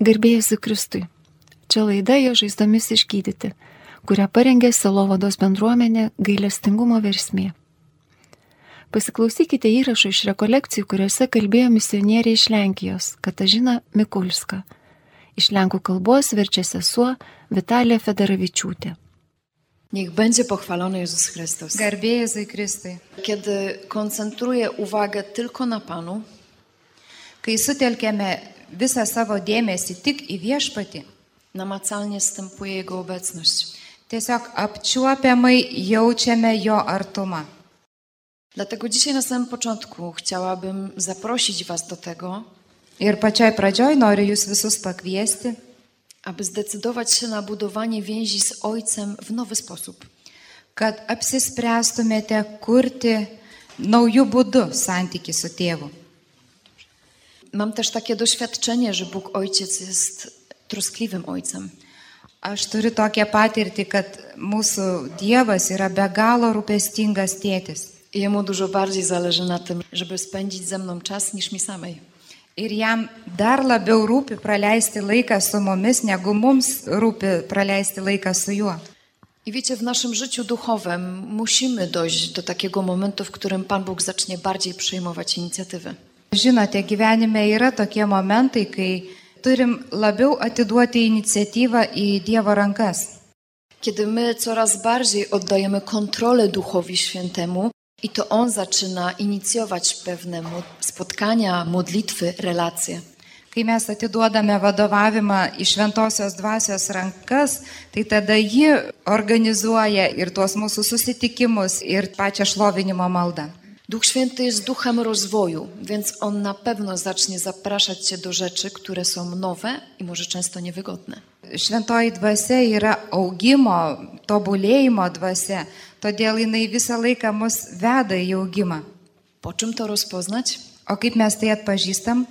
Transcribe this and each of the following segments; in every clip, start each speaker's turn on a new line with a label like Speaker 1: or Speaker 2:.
Speaker 1: Garbėjusi Kristui. Čia laida jo žaizdomis išgydyti, kurią parengė Selovados bendruomenė gailestingumo versmė. Pasiklausykite įrašų iš rekolekcijų, kuriuose kalbėjo misionieriai iš Lenkijos Katažina Mikulska. Iš lenkų kalbos verčia sesuo Vitalija Federavičiūtė.
Speaker 2: Niech będzie pochwalony Jezus Chrystus.
Speaker 3: Garbė Jėzui Kristui.
Speaker 2: Kiedy koncentruję uwagę tylko na Panu,
Speaker 3: Kai sutelkėme visą savo dėmesį tik į viešpatį,
Speaker 2: namacalnie stępuje Jego obecność.
Speaker 3: tiesiog apčiuopiamai jaučiame jo artumą.
Speaker 2: Dlatego dzisiaj na samym początku chciałabym zaprosić Was do tego,
Speaker 3: Ir pačioj pradžioj noriu jūs visus pakviesti,
Speaker 2: aby zdecydować się na budowanie więzi z Ojcem w nowy sposób.
Speaker 3: kad apsispręstumėte kurti naujų būdų santyki su tėvu.
Speaker 2: Mam też takie doświadczenie, że Bóg Ojciec jest troskliwym Ojcem.
Speaker 3: Aš turiu tokią patirtį, kad mūsų Dievas yra be galo rūpestingas tėtis.
Speaker 2: I Jemu dużo bardziej zależy na tym, żeby spędzić ze mną czas niż mi samej.
Speaker 3: Ir jam dar labiau rūpi praleisti laiką su mumis, negu mums rūpi praleisti laiką su juo.
Speaker 2: I wiecie, w naszym życiu duchowym musimy dojść do takiego momentu, w którym Pan Bóg zacznie bardziej przejmować inicjatywę.
Speaker 3: Žinote, gyvenime yra tokie momentai, kai turim labiau atiduoti iniciatyvą į Dievo rankas.
Speaker 2: Kiedy my coraz bardziej oddajemy kontrolę Duchowi Świętemu i to On zaczyna inicjować pewne mo- spotkania, modlitwy, relacje.
Speaker 3: Kai mes atiduodame vadovavimą į šventosios dvasios rankas, tai tada ji organizuoja ir tuos mūsų susitikimus, ir pačią šlovinimo maldą.
Speaker 2: Duch Święty jest duchem rozwoju, więc On na pewno zacznie zapraszać Cię do rzeczy, które są nowe i może często niewygodne.
Speaker 3: Šventoji dvasia yra augimo, tobulėjimo dvasia, todėl jinai visą laiką mus veda į augimą.
Speaker 2: Po czym to rozpoznać?
Speaker 3: O kaip mes tai atpažįstam?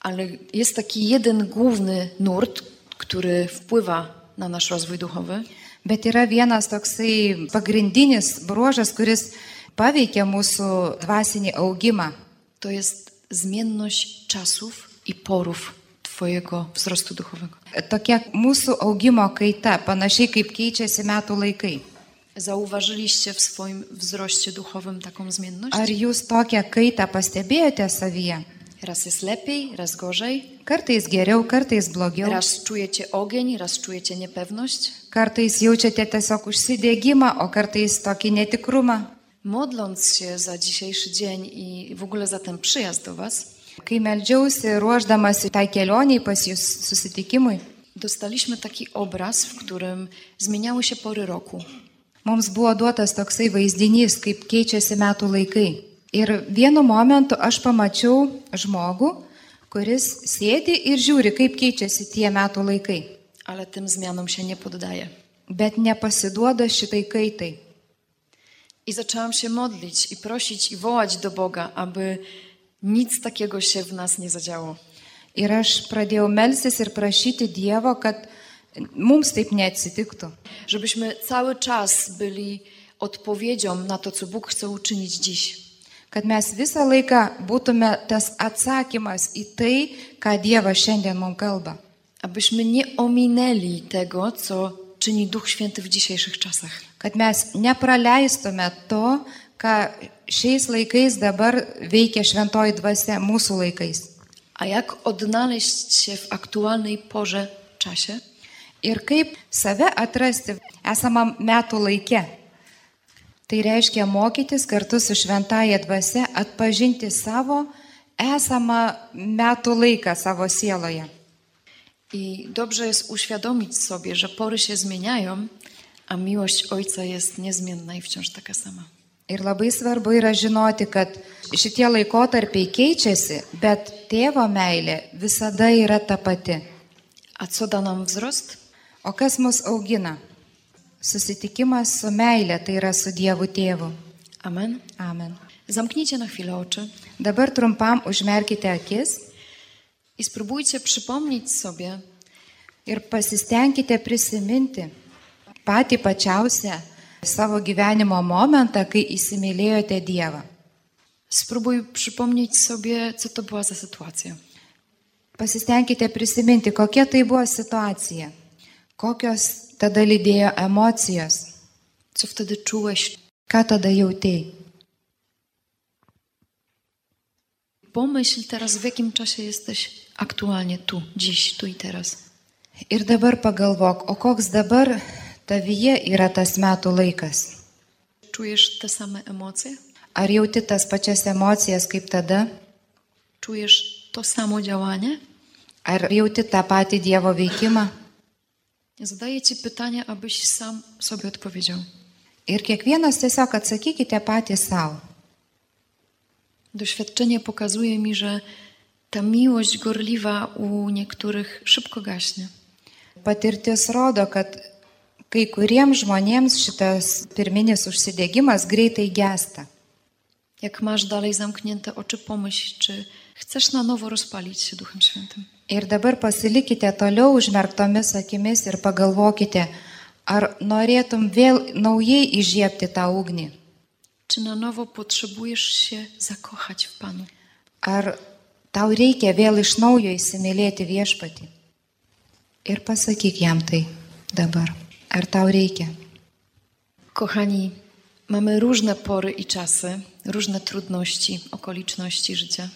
Speaker 2: Ale jest taki jeden główny nurt, który wpływa na nasz rozwój duchowy.
Speaker 3: Bet yra vienas toksai pagrindinis bruožas, kuris paveikia mūsų dvasinį augimą.
Speaker 2: To jest zmienność czasów i porów Twojego wzrostu duchowego.
Speaker 3: Tokia mūsų augimo kaita, panašiai kaip keičiasi metų laikai.
Speaker 2: Zauważyliście w swoim wzroście duchowym taką zmienność?
Speaker 3: Ar jūs tokią kaitą pastebėjote savyje?
Speaker 2: Raz jest lepiej, raz gorzej,
Speaker 3: Kartais geriau, kartais blogiau.
Speaker 2: raz czujecie ogień, raz czujecie niepewność.
Speaker 3: Kartais jaučiate tiesiog užsidėgymą, o kartais tokį netikrumą.
Speaker 2: Modląc się za dzisiejszy dzień i w ogóle za ten przyjazd do Was,
Speaker 3: Kai melžiausi ruoždamasi tai kelioniai pas jūs susitikimui,
Speaker 2: dostaliśmy taki obraz, w którym zmieniały się pory roku.
Speaker 3: mums buvo duotas toksai vaizdinys, kaip keičiasi metų laikai. Ir vienu momentu aš pamačiau žmogų, kuris sėdi ir žiūri, kaip keičiasi tie metų laikai,
Speaker 2: Ale tym zmianom się nie poddaje.
Speaker 3: bet nepasiduoda šitai kaitai.
Speaker 2: I zaczęłam się modlić i prosić i wołać do Boga, aby nic takiego się w nas nie zadziało.
Speaker 3: Ir aš pradėjau melsis ir prašyti Dievo, kad mums taip neatsitiktų.
Speaker 2: Żebyśmy cały czas byli odpowiedzią na to, co Bóg chce uczynić dziś.
Speaker 3: kad mes visą laiką būtume tas atsakymas į tai, ką Dievas šiandien mums kalba.
Speaker 2: Abyśmy nie ominęli tego, co czyni Duch Święty w dzisiejszych czasach.
Speaker 3: Kad mes nepraleistume to, ką šiais laikais dabar veikia šventoji dvasia mūsų laikais.
Speaker 2: A jak odnaleźć się w aktualnej porze, czasie?
Speaker 3: Ir kaip save atrasti esamam metų laikė. Tai reiškia mokytis kartu su šventaja dvasia atpažinti savo esamą metų laiką savo sieloje.
Speaker 2: I dobrze jest uświadomić sobie, że pory się zmieniają, a miłość Ojca jest niezmienna i wciąż taka sama.
Speaker 3: Ir labai svarbu yra žinoti, kad šitie laikotarpiai keičiasi, bet tėvo meilė visada yra ta pati.
Speaker 2: A co da nam wzrost?
Speaker 3: O kas mus augina? Susitikimas su meilė, tai yra su Dievu tėvu.
Speaker 2: Amen.
Speaker 3: Amen.
Speaker 2: Zamknijcie na chwilę oczy
Speaker 3: Dabar trumpam užmerkite akis
Speaker 2: i spróbujcie przypomnieć sobie,
Speaker 3: ir pasistengkite prisiminti patį pačiausią savo gyvenimo momentą, kai įsimylėjote Dievą.
Speaker 2: spróbuj przypomnieć sobie, co to była za sytuacja.
Speaker 3: Pasistengkite prisiminti, kokia tai buvo situacija, kokios tada lydėjo emocijos,
Speaker 2: Co wtedy czułeś?
Speaker 3: ką tada jautėjai.
Speaker 2: Pomyśl teraz, w jakim czasie jesteś aktualnie tu, dziś, tu i teraz.
Speaker 3: Ir dabar pagalvok, o koks dabar tavyje yra tas metų laikas.
Speaker 2: Czujesz te same emocje?
Speaker 3: Ar jauti tas pačias emocijas kaip tada?
Speaker 2: Czujesz to samo działanie?
Speaker 3: Ar jauti tą patį Dievo veikimą?
Speaker 2: Zadaję Ci pytanie, abyś sam sobie odpowiedział.
Speaker 3: Ir kiekvienas tiesiog atsakykite patys savo.
Speaker 2: Doświadczenie pokazuje mi, że ta miłość gorliwa u niektórych szybko gaśnie.
Speaker 3: Patirtis rodo, kad kai kuriems žmonėms šitas pirminis užsidėgymas greitai gesta.
Speaker 2: Jak masz dalej zamknięte oczy, pomyśl, czy chcesz na nowo rozpalić się Duchem Świętym.
Speaker 3: Ir dabar pasilikite toliau užmerktomis akimis ir pagalvokite, ar norėtum vėl naujai įžiepti tą ugnį.
Speaker 2: Czy na nowo potrzebujesz się zakochać w Panu?
Speaker 3: Ar tau reikia vėl iš naujo įsimylėti viešpatį? Ir pasakyk jam tai dabar. Ar tau reikia?
Speaker 2: Kochani, mamy różne pory i czasy, różne trudności, okoliczności życia.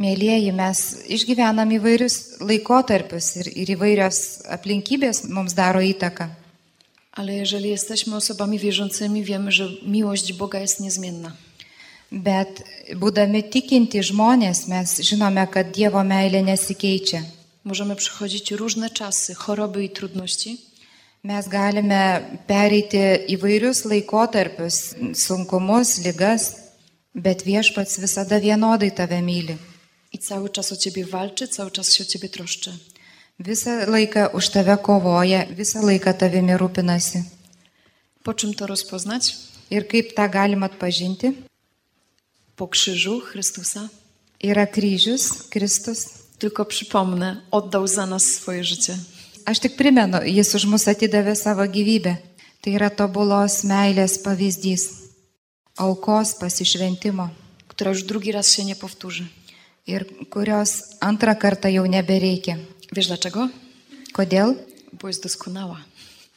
Speaker 3: Mėlyjeji, mes išgyvenam įvairius laikotarpius ir, ir įvairios aplinkybės mums daro įtaką.
Speaker 2: Ale jeżeli jesteśmy osobami wierzącymi, wiemy, że miłość Boga jest niezmienna.
Speaker 3: Bet būdami tikinti žmonės, mes žinome, kad Dievo meilė nesikeičia.
Speaker 2: Możemy przechodzić różne czasy, choroby i trudności,
Speaker 3: Mes galime pereiti įvairius laikotarpius, sunkumus, lygas, bet viešpats visada vienodai tave myli.
Speaker 2: I cały czas o ciebie walczy, cały czas się o ciebie troszczy.
Speaker 3: Visą laiką už tave kovoja, visą laiką tavimi rūpinasi.
Speaker 2: Po czym to rozpoznać?
Speaker 3: Ir kaip tą galima atpažinti?
Speaker 2: Po krzyżu Chrystusa.
Speaker 3: Yra kryžius, Kristus.
Speaker 2: Tylko przypomnę, oddał za nas swoje życie.
Speaker 3: Aš tik primenu, jis už mus atidavė savo gyvybę. Tai yra tobulos meilės pavyzdys. Aukos pasišventimo.
Speaker 2: która już drugi raz się nie powtórzy.
Speaker 3: Ir kurios antrą kartą jau nebereikia.
Speaker 2: Wiesz dlaczego?
Speaker 3: Kodėl?
Speaker 2: Bo jest doskonała.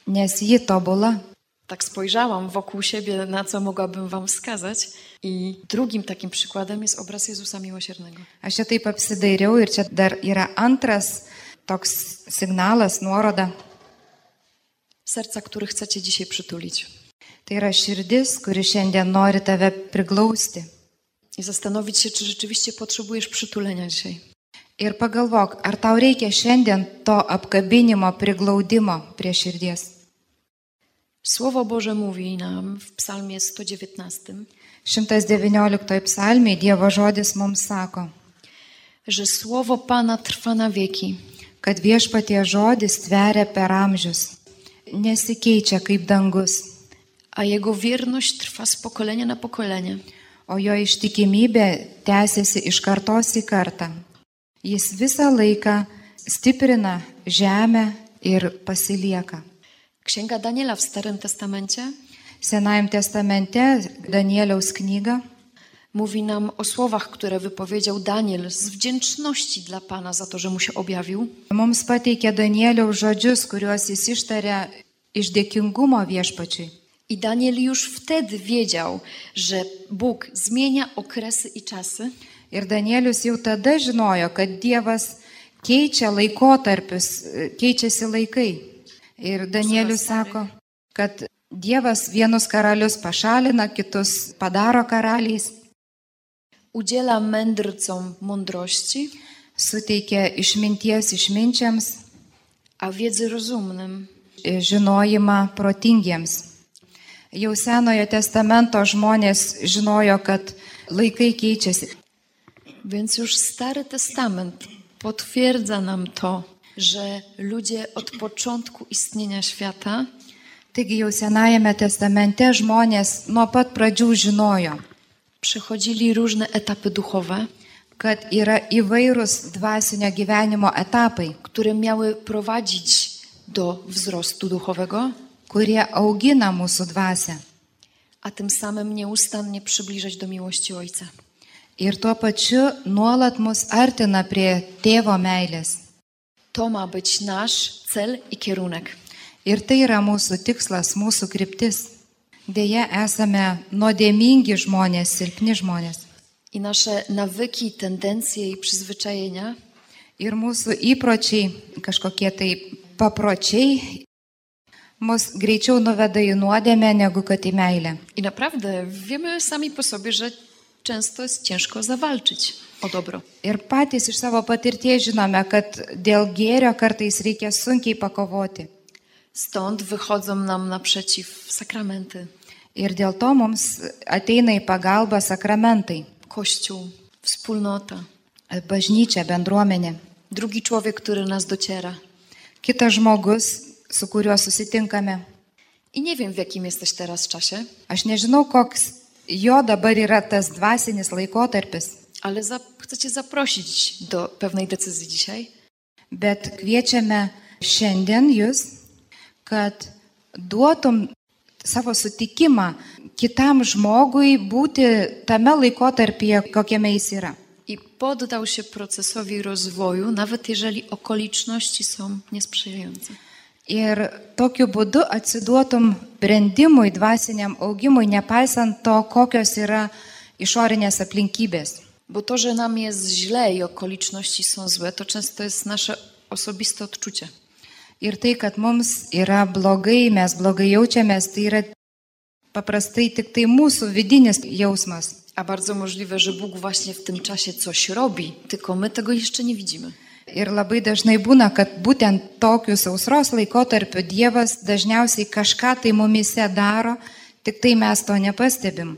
Speaker 3: Nes ji tobula.
Speaker 2: Tak spojrzałam wokół siebie, na co mogłabym Wam wskazać. I drugim takim przykładem jest obraz Jezusa Miłosiernego.
Speaker 3: Aš čia taip apsidairiau ir čia dar yra antras toks signalas, nuoroda.
Speaker 2: Serca, które chcecie dzisiaj przytulić.
Speaker 3: Tai yra širdis, kuri šiandien nori tave priglausti.
Speaker 2: I zastanowić się, czy rzeczywiście potrzebujesz przytulenia dzisiaj.
Speaker 3: Ir pagalvok, ar tau reikia šiandien to apkabinimo, priglaudimo prie širdies.
Speaker 2: Słowo Boże mówi nam w Psalmie 119,
Speaker 3: 119 psalmiai Dievo žodis mums sako,
Speaker 2: że słowo Pana trwa na wieki,
Speaker 3: kad viešpatie žodis tveria per amžius, nesikeičia kaip dangus,
Speaker 2: a Jego wierność trwa z pokolenia na pokolenie.
Speaker 3: o jo ištikimybė tęsiasi iš kartos į kartą. Jis visą laiką stiprina žemę ir pasilieka.
Speaker 2: Księga Daniela w Starym Testamencie
Speaker 3: Senajam testamente Danieliaus knyga
Speaker 2: Mówi nam o słowach, które wypowiedział Daniel z wdzięczności dla Pana za to, że mu się objawił.
Speaker 3: mums pateikia Danieliaus žodžius, kuriuos jis ištaria iš dėkingumo viešpačiui.
Speaker 2: I Daniel już wtedy wiedział, że Bóg zmienia okresy i czasy,
Speaker 3: Ir Danielius jau tada žinojo, kad Dievas keičia laikotarpius, keičiasi laikai. Ir Danielius sako, kad Dievas vienus karalius pašalina, kitus padaro karaliais,
Speaker 2: udziela mędrcom mądrości,
Speaker 3: suteikia išminties išminčiams,
Speaker 2: a wiedzy rozumnym.
Speaker 3: žinojimą protingiems. Jau senojo testamento žmonės žinojo, kad laikai keičiasi.
Speaker 2: Więc już Stary Testament potwierdza nam to, że ludzie od początku istnienia świata
Speaker 3: Taigi jau senajame testamente žmonės nuo pat pradžių žinojo,
Speaker 2: przechodzili różne etapy duchowe,
Speaker 3: kad yra įvairūs dvasinio gyvenimo etapai,
Speaker 2: które miały prowadzić do wzrostu duchowego,
Speaker 3: kurie augina mūsų dvasę
Speaker 2: a tym samym nieustannie przybliżać do miłości Ojca.
Speaker 3: ir tuo pačiu nuolat mus artina prie tėvo meilės.
Speaker 2: To ma być nasz cel i kierunek.
Speaker 3: Ir tai yra mūsų tikslas, mūsų kryptis. Deja, esame nuodėmingi žmonės, silpni žmonės.
Speaker 2: I nasze nawyki, tendencje i przyzwyczajenia
Speaker 3: Ir mūsų įpročiai, kažkokie tai papročiai, mus greičiau nuveda į nuodėmę negu kad į meilę.
Speaker 2: I naprawdę wiemy sami po sobie, że często jest ciężko zawalczyć o dobro.
Speaker 3: Ir patys iš savo patirties žinome, kad dėl gėrio kartais reikia sunkiai pakovoti.
Speaker 2: Stąd wychodzą nam naprzeciw sakramenty,
Speaker 3: Ir dėl to mums ateina į pagalbą sakramentai,
Speaker 2: kościół, wspólnota,
Speaker 3: bažnyčia, bendruomenė,
Speaker 2: drugi człowiek, który nas dociera.
Speaker 3: kitas žmogus, su kuriuo susitinkame.
Speaker 2: I nie wiem, w jakim jesteś teraz czasie,
Speaker 3: Aš nežinau, koks jo dabar yra tas dvasinis laikotarpis,
Speaker 2: ale za, chcę Cię zaprosić do pewnej decyzji dzisiaj,
Speaker 3: bet kviečiame šiandien jūs, kad duotum savo sutikimą kitam žmogui būti tame laikotarpyje, kokiame jis yra.
Speaker 2: i poddał się procesowi rozwoju, nawet jeżeli okoliczności są niesprzyjające.
Speaker 3: Ir tokiu būdu atsiduotum brendimui, dvasiniam augimui, nepaisant to, kokios yra išorinės aplinkybės.
Speaker 2: Bo to, że nam jest źle i okoliczności są złe, to często jest nasze osobiste odczucie.
Speaker 3: Ir tai, kad mums yra blogai, mes blogai jaučiamės, tai yra paprastai tik tai mūsų vidinis jausmas.
Speaker 2: A bardzo możliwe, że Bóg właśnie w tym czasie coś robi, tylko my tego jeszcze nie widzimy.
Speaker 3: Ir labai dažnai būna, kad būtent tokiu sausros laikotarpiu Dievas dažniausiai kažką tai mumise daro, tik tai mes to nepastebim.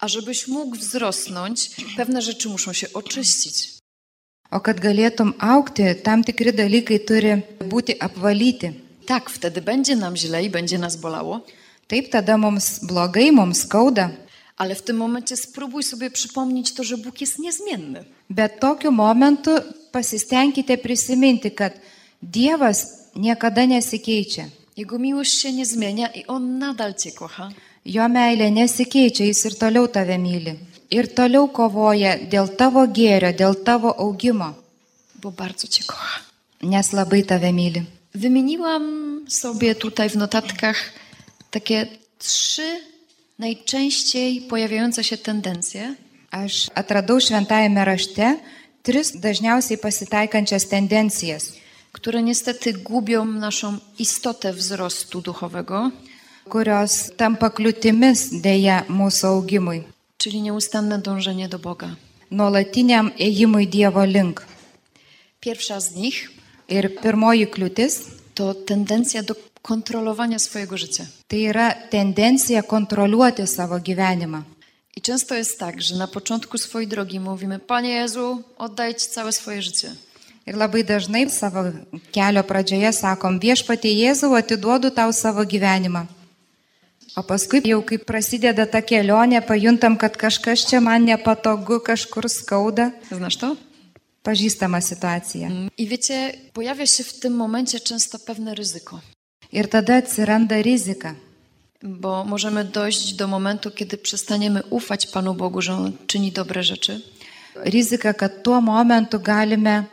Speaker 2: A żebyś mógł wzrosnąć, pewne rzeczy muszą się oczyścić.
Speaker 3: O kad galėtum aukti, tam tikri dalykai turi būti apvalyti.
Speaker 2: Tak, wtedy będzie nam źle i będzie nas bolało,
Speaker 3: Taip tada mums blogai, mums skauda,
Speaker 2: ale w tym momencie spróbuj sobie przypomnieć to, że Bóg jest niezmienny.
Speaker 3: bet tokiu momentu pasistengkite prisiminti, kad Dievas niekada nesikeičia.
Speaker 2: Jego miłość się nie zmienia i On nadal Cię kocha.
Speaker 3: Jo meilė nesikeičia, jis ir toliau tave myli. Ir toliau kovoja dėl tavo gėrio, dėl tavo augimo,
Speaker 2: bo bardzo Cię kocha.
Speaker 3: nes labai tave myli.
Speaker 2: Wymieniłam sobie tutaj w notatkach takie trzy najczęściej pojawiające się tendencje,
Speaker 3: Aš atradau šventajame rašte tris dažniausiai pasitaikančias tendencijas,
Speaker 2: które niestety gubią naszą istotę wzrostu duchowego,
Speaker 3: kurios tampa kliūtimis dėja mūsų augimui,
Speaker 2: czyli nieustanne dążenie do Boga.
Speaker 3: nuolatiniam ėjimui Dievo link.
Speaker 2: Pierwsza z nich
Speaker 3: Ir pirmoji kliūtis
Speaker 2: to tendencja do kontrolowania swojego życia.
Speaker 3: tai yra tendencija kontroliuoti savo gyvenimą.
Speaker 2: I często jest tak, że na początku swojej drogi mówimy: Panie Jezu, oddaj Ci całe swoje życie.
Speaker 3: Ir labai dažnai savo kelio pradžioje sakom, viešpatie Jėzau atiduodu tau savo gyvenimą. O paskui jau kai prasideda ta kelionė, pajuntam, kad kažkas čia man nepatogu, kažkur skauda,
Speaker 2: Znasz to?
Speaker 3: pažįstama situacija.
Speaker 2: I wiecie, pojawia się w tym momencie często pewne ryzyko.
Speaker 3: Ir tada atsiranda rizika,
Speaker 2: Bo możemy dojść do momentu, kiedy przestaniemy ufać Panu Bogu, że On czyni dobre rzeczy,
Speaker 3: Rizika, kad tuo momentu galime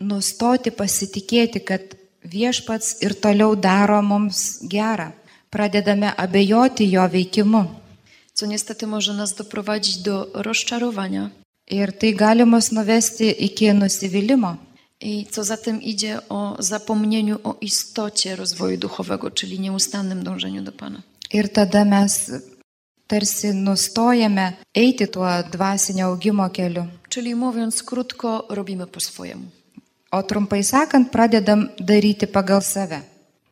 Speaker 3: nustoti pasitikėti, kad viešpats ir toliau daro mums gerą. Pradedame abejoti jo veikimu.
Speaker 2: co niestety może nas doprowadzić do rozczarowania
Speaker 3: Ir tai gali mus nuvesti iki nusivylimų.
Speaker 2: i co za tym idzie o zapomnieniu o istocie rozwoju duchowego, czyli nieustannym dążeniu do Pana.
Speaker 3: Ir tada mes tarsi nustojame eiti tuo dvasinio augimo keliu.
Speaker 2: Czyli mówiąc krótko, robimy po swojemu.
Speaker 3: O trumpai sakant, pradedam daryti pagal save.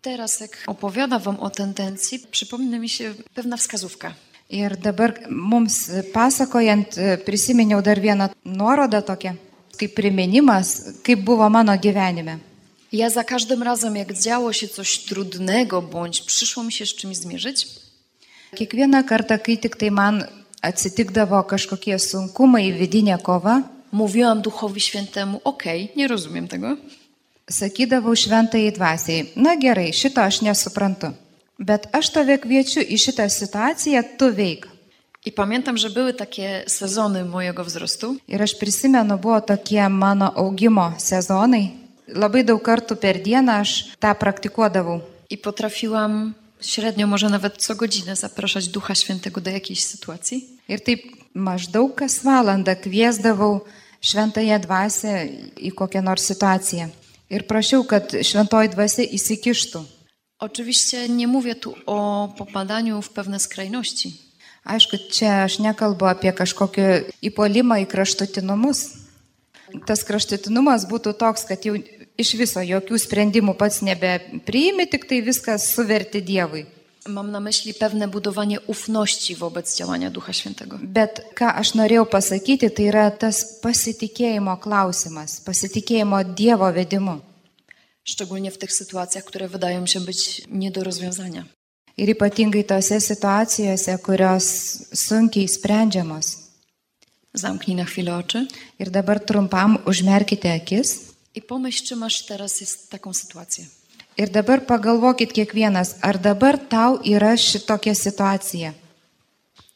Speaker 2: Teraz, jak opowiada Wam o tendencji, przypomina mi się pewna wskazówka.
Speaker 3: Ir dabar mums pasakojant, prisiminiau dar vieną nuorodą tokią, kaip priminimas, kaip buvo mano gyvenime.
Speaker 2: Ja za każdym razem, jak działo się coś trudnego, bądź przyszło mi się z czymś zmierzyć,
Speaker 3: Kiekvieną kartą, kai tik tai man atsitikdavo kažkokie sunkumai, vidinė kova,
Speaker 2: mówiłam Duchowi Świętemu: Okej, nie rozumiem tego,
Speaker 3: sakydavau šventai dvasiai, na gerai, šito aš nesuprantu, bet aš tave kviečiu į šitą situaciją, tu veik.
Speaker 2: I pamiętam, że były takie sezony mojego wzrostu.
Speaker 3: Ir aš prisimenu, buvo tokie mano augimo sezonai. Labai daug kartų per dieną aš tą praktikuodavau.
Speaker 2: I potrafiłam średnio, może nawet co godzinę, zapraszać Ducha Świętego do jakiejś sytuacji.
Speaker 3: Ir taip maždaug kas valandą kviesdavau šventąją dvasę į kokią nors situaciją. Ir prašiau, kad šventoji dvasė įsikištų.
Speaker 2: Oczywiście nie mówię tu o popadaniu w pewne skrajności,
Speaker 3: Aišku, čia aš nekalbu apie kažkokį įpolimą į kraštutinumus. Tas kraštutinumas būtų toks, kad jau iš viso jokių sprendimų pats nebepriimi, tik tai viskas suverti Dievui.
Speaker 2: Mam na myśli pewne budowanie ufności wobec działania Ducha Świętego.
Speaker 3: Bet ką aš norėjau pasakyti, tai yra tas pasitikėjimo klausimas, pasitikėjimo Dievo vedimu.
Speaker 2: Szczególnie w tych sytuacjach, które wydają się być nie do rozwiązania.
Speaker 3: Ir ypatingai tose situacijose, kurios sunkiai sprendžiamos.
Speaker 2: Zamknij na chwilę oczy
Speaker 3: Ir dabar trumpam užmerkite akis
Speaker 2: i pomyśl, czy masz teraz jest taką sytuację.
Speaker 3: Ir dabar pagalvokit kiekvienas, ar dabar tau yra šitokia situacija.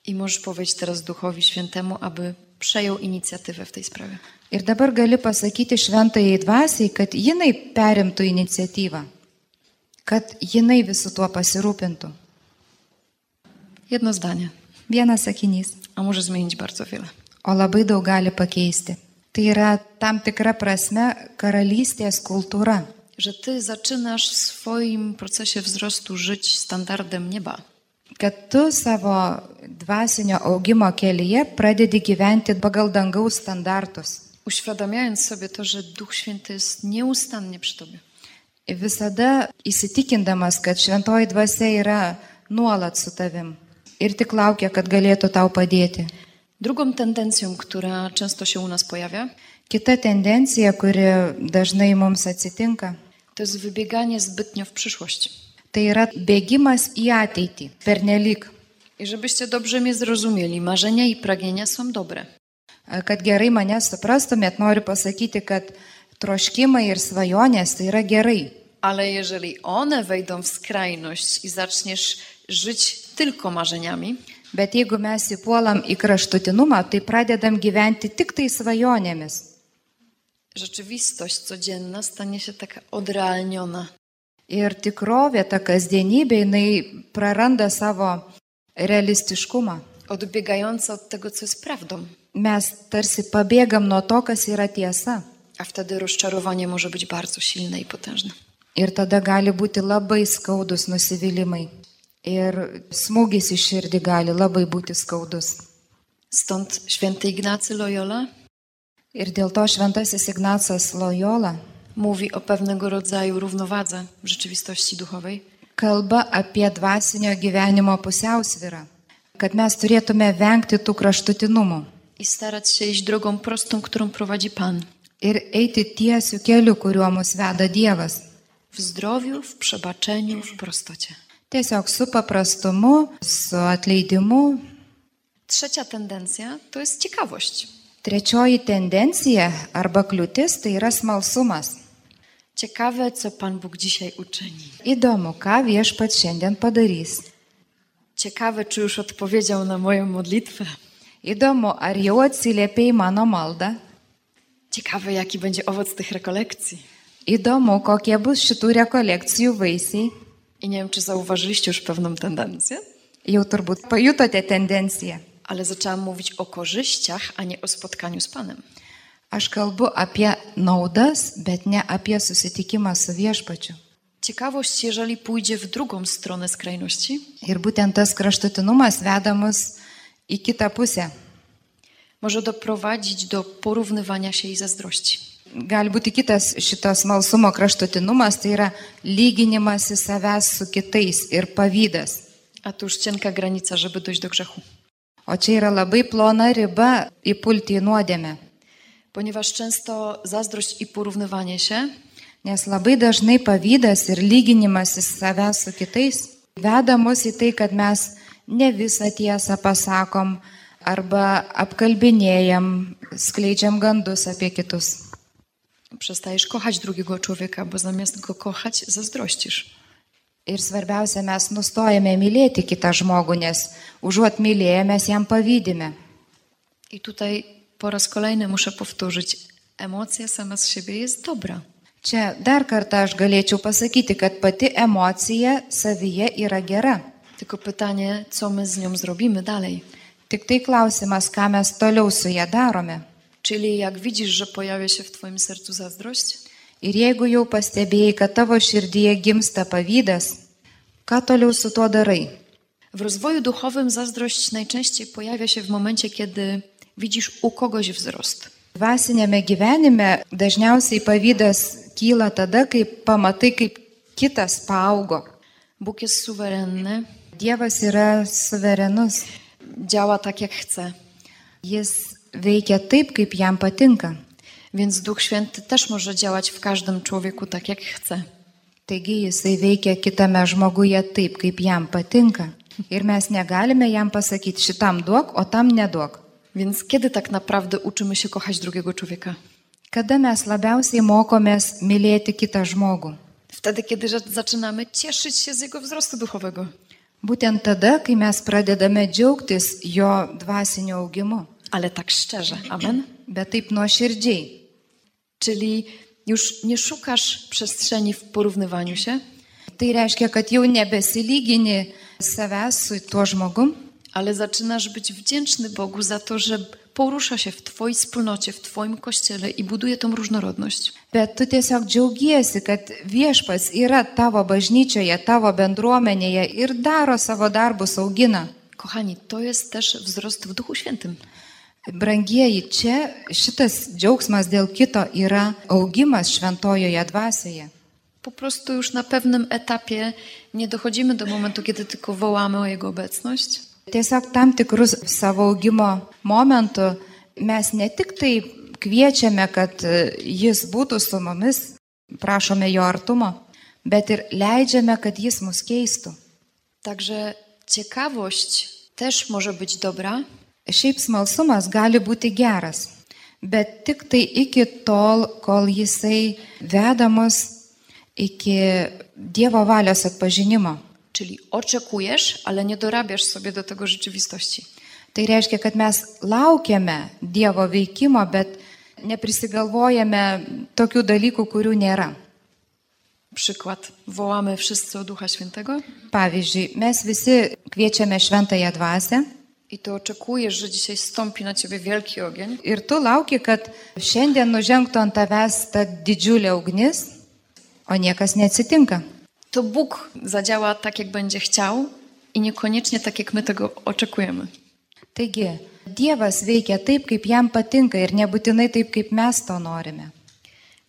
Speaker 2: I możesz powiedzieć teraz Duchowi Świętemu, aby przejął inicjatywę w tej sprawie.
Speaker 3: Ir dabar gali pasakyti šventai dvasiai, kad jinai perimtų iniciatyvą, kad jinai visų tuo pasirūpintų.
Speaker 2: Jedno zdanie,
Speaker 3: Vienas sakinys,
Speaker 2: a może zmienić bardzo wiele.
Speaker 3: o labai daug gali pakeisti. Tai yra tam tikra prasme karalystės kultūra,
Speaker 2: Że ty zaczynasz w swoim procesie wzrostu żyć standardem nieba.
Speaker 3: kad tu savo dvasinio augimo kelyje pradedi gyventi pagal dangaus standartus.
Speaker 2: Uświadamiając sobie to, że Duch Święty jest nieustannie przy tobie.
Speaker 3: Visada įsitikindamas, kad šventoji dvasia yra nuolat su tavim ir tik laukia, kad galėtų tau padėti.
Speaker 2: Drugą tendencją, która często się u nas pojawia,
Speaker 3: Kita tendencija, kuri dažnai mums atsitinka,
Speaker 2: to jest wybieganie zbytnio w przyszłość.
Speaker 3: tai yra bėgimas į ateitį pernelyg.
Speaker 2: I żebyście dobrze mnie zrozumieli, marzenia i pragnienia są dobre,
Speaker 3: Kad gerai mane suprastumėt, noriu pasakyti, kad troškimai ir svajonės tai yra gerai.
Speaker 2: ale jeżeli one wejdą w skrajność i zaczniesz żyć tylko marzeniami,
Speaker 3: Bet jeigu mes įpuolam į kraštutinumą, tai pradedam gyventi tik tai svajonėmis.
Speaker 2: rzeczywistość codzienna stanie się taka odrealniona.
Speaker 3: Ir tikrovė, ta kasdienybė, jinai praranda savo realistiškumą.
Speaker 2: odbiegająca od tego, co jest prawdą.
Speaker 3: Mes tarsi pabėgam nuo to, kas yra tiesa.
Speaker 2: A wtedy rozczarowanie może być bardzo silne i potężne.
Speaker 3: Ir tada gali būti labai skaudus nusivylimai. Ir smūgis į širdį gali labai būti skaudus.
Speaker 2: Stąd święty Ignacy Loyola
Speaker 3: Ir dėl to šventasis Ignacas Lojola
Speaker 2: mówi o pewnego rodzaju równowadze w rzeczywistości duchowej,
Speaker 3: kalba apie dvasinio gyvenimo pusiausvyrą. Kad mes turėtume vengti tų kraštutinumų
Speaker 2: i starać się iść drogą prostą, którą prowadzi Pan.
Speaker 3: ir eiti tiesių kelių, kuriuo mus veda Dievas.
Speaker 2: W zdrowiu, w przebaczeniu, w prostocie.
Speaker 3: Tiesiog su paprastumu, su atleidimu.
Speaker 2: Trzecia tendencja to jest ciekawość.
Speaker 3: Trečioji tendencija arba kliūtis tai yra smalsumas.
Speaker 2: Ciekawe, co Pan Bóg dzisiaj uczyni.
Speaker 3: Įdomu, ką viešpat šiandien padarys.
Speaker 2: Ciekawe, czy już odpowiedział na moją modlitwę.
Speaker 3: Įdomu, ar jau atsiliepia į mano maldą.
Speaker 2: Ciekawe, jaki będzie owoc tych rekolekcji.
Speaker 3: Įdomu, kokie bus šitų rekolekcijų vaisiai.
Speaker 2: I nie wiem, czy zauważyliście już pewną tendencję,
Speaker 3: Jau turbūt pajutote tendenciją.
Speaker 2: ale zaczęłam mówić o korzyściach, a nie o spotkaniu z Panem.
Speaker 3: Aš kalbu apie naudas, bet ne apie susitikimą su viešpačiu.
Speaker 2: Ciekawość, jeżeli pójdzie w drugą stronę skrajności,
Speaker 3: Ir būtent tas kraštutinumas vedamus į kitą pusę.
Speaker 2: może doprowadzić do porównywania się i zazdrości.
Speaker 3: Gali būti kitas šitos malsumo kraštutinumas, tai yra lyginimas į savęs su kitais ir pavydas.
Speaker 2: A tu już cienka granica, żeby dojść do grzechu.
Speaker 3: O čia yra labai plona riba įpulti į nuodėmę.
Speaker 2: Ponieważ często zazdrość i porównywanie się
Speaker 3: Nes labai dažnai pavydas ir lyginimas į savęs su kitais veda mus į tai, kad mes ne visą tiesą pasakom arba apkalbinėjam, skleidžiam gandus apie kitus.
Speaker 2: przestajesz kochać drugiego człowieka, bo zamiast go kochać, zazdrościsz.
Speaker 3: Ir svarbiausia, mes nustojame mylėti kitą žmogų, nes užuot mylėję mes jam pavydime.
Speaker 2: I tutaj po raz kolejny muszę powtórzyć, emocja sama z siebie jest dobra.
Speaker 3: Čia dar kartą aš galėčiau pasakyti, kad pati emocija savyje yra gera.
Speaker 2: Tylko pytanie, co my z nią zrobimy dalej.
Speaker 3: Tik tai klausimas, ką mes toliau su ją darome.
Speaker 2: Czyli jak widzisz, że pojawia się w Twoim sercu zazdrość,
Speaker 3: Ir jeigu jau pastebėjai, kad tavo širdyje gimsta pavydas, ką toliau su tuo darai?
Speaker 2: w rozwoju duchowym zazdrość najczęściej pojawia się w momencie, kiedy widzisz u kogoś wzrost.
Speaker 3: Vasinėme gyvenime dažniausiai pavydas kyla tada, kai pamatai, kaip kitas paaugo.
Speaker 2: Bóg jest suwerenny,
Speaker 3: Dievas yra suverenus.
Speaker 2: działa tak jak chce.
Speaker 3: Jis veikia taip, kaip jam patinka.
Speaker 2: Więc Duch Święty też może działać w każdym człowieku tak jak chce.
Speaker 3: Taigi jisai veikia kitame žmoguje taip, kaip jam patinka. Ir mes negalime jam pasakyti, šitam duok, o tam neduok.
Speaker 2: Więc kiedy tak naprawdę uczymy się kochać drugiego człowieka?
Speaker 3: Kada mes labiausiai mokomės mylėti kitą žmogų?
Speaker 2: Wtedy, kiedy za- zaczynamy cieszyć się z jego wzrostu duchowego.
Speaker 3: Būtent tada, kai mes pradedame džiaugtis jo dvasiniu augimu,
Speaker 2: Ale tak szczerze. Amen.
Speaker 3: bet taip nuoširdžiai.
Speaker 2: Czyli już nie szukasz przestrzeni w porównywaniu się,
Speaker 3: Tai reiškia, kad jau nebesilygini savęs su tuo žmogum,
Speaker 2: ale zaczynasz być wdzięczny Bogu za to, że porusza się w Twojej wspólnocie, w Twoim kościele i buduje tą różnorodność.
Speaker 3: bet tu tiesiog džiaugiesi, kad viešpas yra tavo bažnyčioje, tavo bendruomenėje ir daro savo darbus augina.
Speaker 2: Kochani, to jest też wzrost w Duchu Świętym.
Speaker 3: Brangieji, čia šitas džiaugsmas dėl kito yra augimas šventojoje dvasioje.
Speaker 2: Po prostu już na pewnym etapie nie dochodzimy do momentu, kiedy tylko wołamy o Jego obecność,
Speaker 3: Tiesiog tam tikrus savo augimo momentų mes ne tik tai kviečiame, kad e, jis būtų su mumis, prašome jo artumo, bet ir leidžiame, kad jis mus keistų.
Speaker 2: Także ciekawość też może być dobra,
Speaker 3: Šiaip smalsumas gali būti geras, bet tik tai iki tol, kol jisai vedamas iki Dievo valios atpažinimo.
Speaker 2: czyli oczekujesz, ale nie dorabiasz sobie do tego rzeczywistości.
Speaker 3: Tai reiškia, kad mes laukiame Dievo veikimo, bet neprisigalvojame tokių dalykų, kurių nėra.
Speaker 2: Przykład. Wołamy wszyscy o Ducha Świętego
Speaker 3: Pavyzdžiui, mes visi kviečiame šventąją dvasę
Speaker 2: i ty oczekujesz, że dzisiaj stąpi na ciebie wielki ogień,
Speaker 3: ir tu lauki, kad šiandien nužengtų ant tavęs ta didžiulė ugnis, o niekas neatsitinka.
Speaker 2: to Bóg zadziała tak, jak będzie chciał i niekoniecznie tak, jak my tego oczekujemy.
Speaker 3: Taigi, Dievas veikia taip, kaip jam patinka ir nebūtinai taip, kaip mes to norime.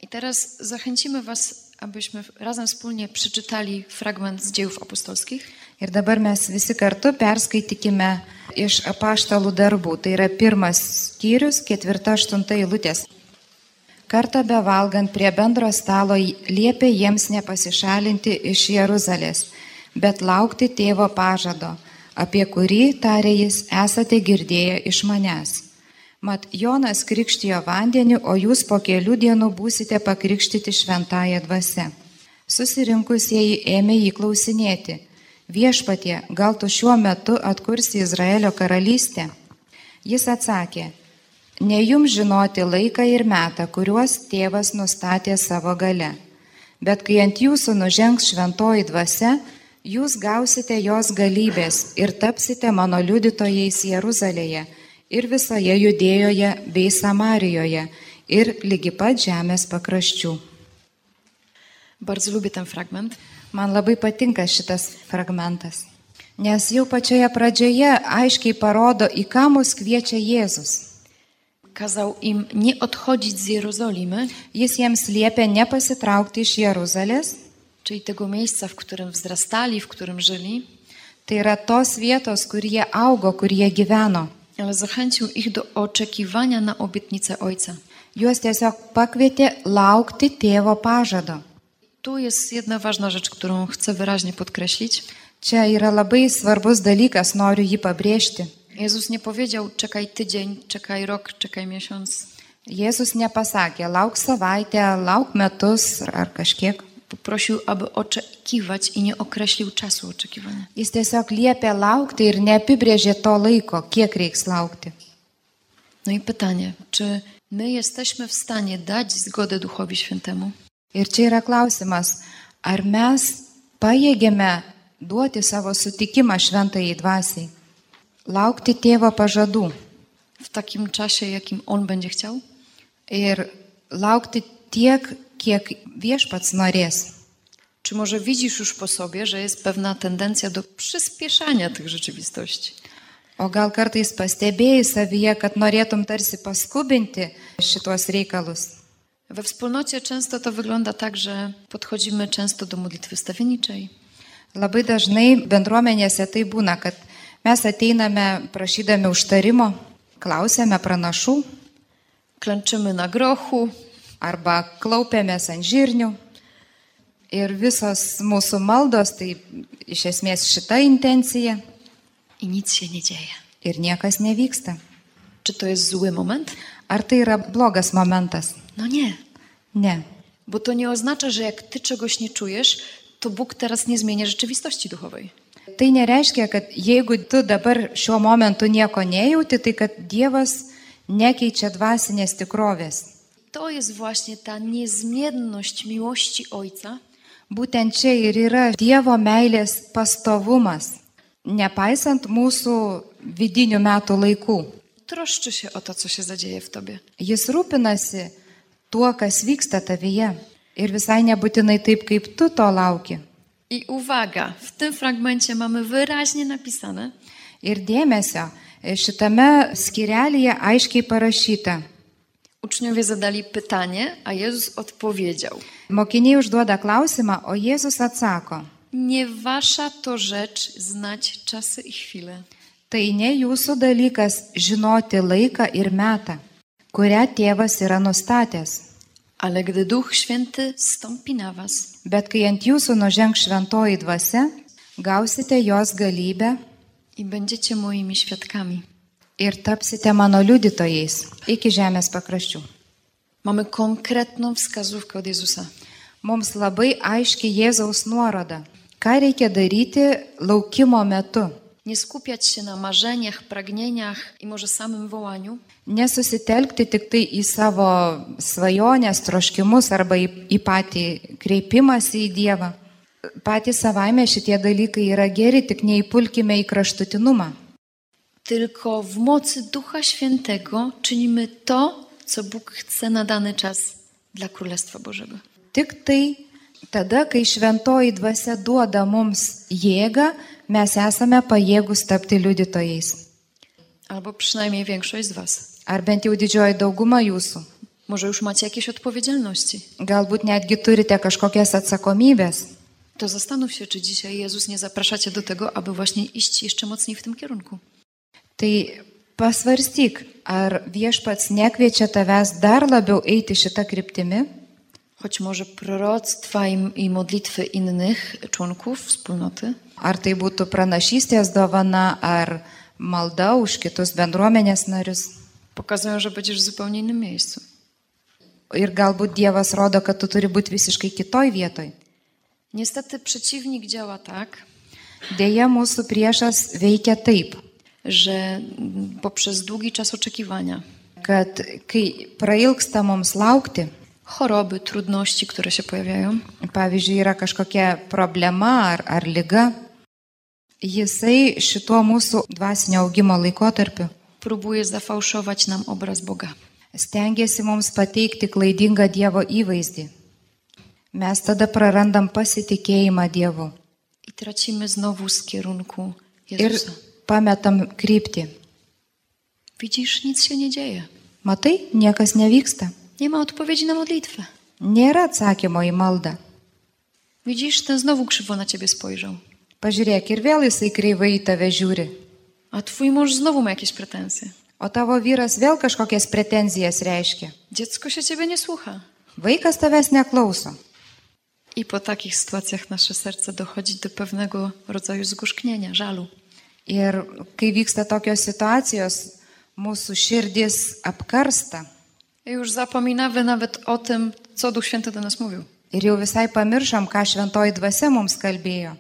Speaker 2: I teraz zachęcimy was, abyśmy razem wspólnie przeczytali fragment z dziejów apostolskich,
Speaker 3: Ir dabar mes visi kartu perskaitykime iš apaštalų darbų. Tai yra pirmas skyrius, ketvirta, aštunta eilutės. Kartą bevalgant prie bendro stalo liepė jiems nepasišalinti iš Jeruzalės, bet laukti tėvo pažado, apie kurį, tarė jis, esate girdėję iš manęs. Mat, Jonas krikštijo vandeniu, o jūs po kelių dienų būsite pakrikštyti šventąją dvasę. Susirinkusieji ėmė jį klausinėti. Viešpatie, gal tu šiuo metu atkursi Izraelio karalystę? Jis atsakė, ne jums žinoti laiką ir metą, kuriuos tėvas nustatė savo gale. Bet kai ant jūsų nužengs šventoji dvasia, jūs gausite jos galybės ir tapsite mano liudytojais Jeruzalėje ir visoje judėjoje bei Samarijoje ir lygi pat žemės pakraščių.
Speaker 2: bardzo lubię ten fragment,
Speaker 3: Man labai patinka šitas fragmentas, nes jau pačioje pradžioje aiškiai parodo, į ką mus kviečia Jėzus.
Speaker 2: kazał im nie odchodzić z Jerozolimy,
Speaker 3: Jis jiems liepia nepasitraukti iš Jeruzalės,
Speaker 2: czyli tego miejsca, w którym wzrastali, w którym żyli,
Speaker 3: tai yra tos vietos, kur jie augo, kur jie gyveno.
Speaker 2: ale zachęcił ich do oczekiwania na obietnicę Ojca.
Speaker 3: Juos tiesiog pakvietė laukti tėvo pažado.
Speaker 2: Tu jest jedna ważna rzecz, którą chcę wyraźnie podkreślić.
Speaker 3: Čia yra labai svarbus dalykas, noriu jį pabrėžti.
Speaker 2: Jezus nie powiedział: czekaj tydzień, czekaj rok, czekaj miesiąc.
Speaker 3: Jėzus nepasakė, lauk savaitę, lauk metus ar kažkiek.
Speaker 2: poprosił, aby oczekiwać i nie określił czasu oczekiwania.
Speaker 3: Jis tiesiog liepia laukti ir neapibrėžė to laiko, kiek reiks laukti.
Speaker 2: No i pytanie, czy my jesteśmy w stanie dać zgodę Duchowi Świętemu?
Speaker 3: Ir čia yra klausimas, ar mes pajėgėme duoti savo sutikimą šventai dvasiai, laukti tėvo pažadų
Speaker 2: W takim czasie, jakim On będzie chciał?
Speaker 3: ir laukti tiek, kiek viešpats norės.
Speaker 2: Czy może widzisz już po sobie, że jest pewna tendencja do przyspieszania tych rzeczywistości?
Speaker 3: O gal kartais pastebėjai savyje, kad norėtum tarsi paskubinti šitos reikalus.
Speaker 2: We wspólnocie często to wygląda tak, że podchodzimy często do modlitwy stawienniczej,
Speaker 3: Labai dažnai bendruomenėse tai būna, kad mes ateiname prašydami užtarimo, klausėme pranašų
Speaker 2: klęczymy na grochu,
Speaker 3: arba klaupėmės ant žirnių. Ir visos mūsų maldos, tai iš esmės šita intencija
Speaker 2: i nic się nie dzieje.
Speaker 3: ir niekas nevyksta.
Speaker 2: Czy to jest zły moment?
Speaker 3: Ar tai yra blogas momentas?
Speaker 2: No nie,
Speaker 3: Ne.
Speaker 2: bo to nie oznacza, że jak ty czegoś nie czujesz, to Bóg teraz nie zmienia rzeczywistości duchowej.
Speaker 3: Tai nereiškia, kad jeigu tu dabar šiuo momentu nieko nejauti, tai kad Dievas nekeičia dvasinės tikrovės.
Speaker 2: To jest właśnie ta niezmienność miłości Ojca,
Speaker 3: Būtent čia ir yra Dievo meilės pastovumas, nepaisant mūsų vidinių metų laikų.
Speaker 2: troszczy się o to, co się zadzieje w tobie.
Speaker 3: Jis rūpinasi tuo, kas vyksta tavyje ir visai nebūtinai taip, kaip tu to lauki.
Speaker 2: I uwaga, w tym fragmencie mamy wyraźnie napisane,
Speaker 3: Ir dėmesio, šitame skirelėje aiškiai parašyta.
Speaker 2: uczniowie zadali pytanie, a Jezus odpowiedział.
Speaker 3: Mokiniai užduoda klausimą, o Jėzus atsako,
Speaker 2: Nie wasza to rzecz znać czasy i chwile,
Speaker 3: tai ne jūsų dalykas žinoti laiką ir metą, kurią tėvas yra nustatęs.
Speaker 2: ale gdy Duch Święty stąpi na was,
Speaker 3: Bet kai ant jūsų nužengs šventoji dvasia, gausite jos galybę
Speaker 2: i będziecie moimi świadkami.
Speaker 3: ir tapsite mano liudytojais iki žemės pakraščių.
Speaker 2: Mamy konkretną wskazówkę od Jezusa.
Speaker 3: Mums labai aiški Jėzaus nuoroda, ką reikia daryti laukimo metu.
Speaker 2: Nie skupiać się na marzeniach, pragnieniach i może samym wołaniu,
Speaker 3: Nesusitelkti tik tai į savo svajonės, troškimus arba į, į patį kreipimąsi į Dievą. Patys savaime šitie dalykai yra geri, tik neįpulkime į kraštutinumą.
Speaker 2: tylko w mocy Ducha Świętego czynimy to, co Bóg chce na dany czas dla Królestwa Bożego.
Speaker 3: Tik tai tada, kai šventoji dvasia duoda mums jėgą, mes esame pajėgus tapti liudytojais.
Speaker 2: Albo przynajmniej większość z Was.
Speaker 3: Ar bent jau didžioji dauguma jūsų.
Speaker 2: Może już macie jakieś odpowiedzialności.
Speaker 3: Galbūt netgi turite kažkokias atsakomybės.
Speaker 2: To zastanów się, czy dzisiaj Jezus nie zaprasza Cię do tego, aby właśnie iść jeszcze mocniej w tym kierunku.
Speaker 3: Tai pasvarstyk, ar viešpats nekviečia tavęs dar labiau eiti šitą kryptimį.
Speaker 2: Choć może proroctwa i, i modlitwy innych członków wspólnoty,
Speaker 3: Ar tai būtų pranašystės dovana, ar malda už kitus bendruomenės narius.
Speaker 2: pokazują, że będziesz w zupełnie innym miejscu.
Speaker 3: Ir galbūt Dievas rodo, kad tu turi būti visiškai kitoj vietoj.
Speaker 2: Niestety przeciwnik działa tak,
Speaker 3: Deja, mūsų priešas veikia taip,
Speaker 2: że mm, poprzez długi czas oczekiwania,
Speaker 3: kad kai prailgsta mums laukti,
Speaker 2: choroby, trudności, które się pojawiają,
Speaker 3: pavyzdžiui, yra kažkokia problema ar, ar lyga, jisai šituo mūsų dvasinio augimo laikotarpiu
Speaker 2: próbuje zafałszować nam obraz Boga.
Speaker 3: stengiasi mums pateikti klaidingą Dievo įvaizdį. Mes tada prarandam pasitikėjimą Dievu
Speaker 2: I tracimy znowu z kierunku
Speaker 3: ir
Speaker 2: Jezusa.
Speaker 3: pametam kryptį.
Speaker 2: Widzisz, nic się nie dzieje.
Speaker 3: Matai, niekas nevyksta.
Speaker 2: Nie ma odpowiedzi na modlitwę.
Speaker 3: Nėra atsakymo į maldą.
Speaker 2: Widzisz, ten znowu krzywo na ciebie spojrzał.
Speaker 3: Pažiūrėk, ir vėl jisai kreivai į tave žiūri.
Speaker 2: A twój mąż znowu ma jakieś pretensje.
Speaker 3: O tavo vyras vėl kažkokias pretenzijas reiškia.
Speaker 2: Dziecko się ciebie nie słucha.
Speaker 3: Vaikas tavęs neklauso.
Speaker 2: I po takich sytuacjach nasze serce dochodzi do pewnego rodzaju zgorzknienia, żalu.
Speaker 3: Ir kai vyksta tokios situacijos, mūsų širdis apkarsta.
Speaker 2: I Już zapominamy nawet o tym, co Duch Święty do nas mówił.
Speaker 3: Ir jau visai pamiršom, ką šventoji dvasia mums kalbėjo.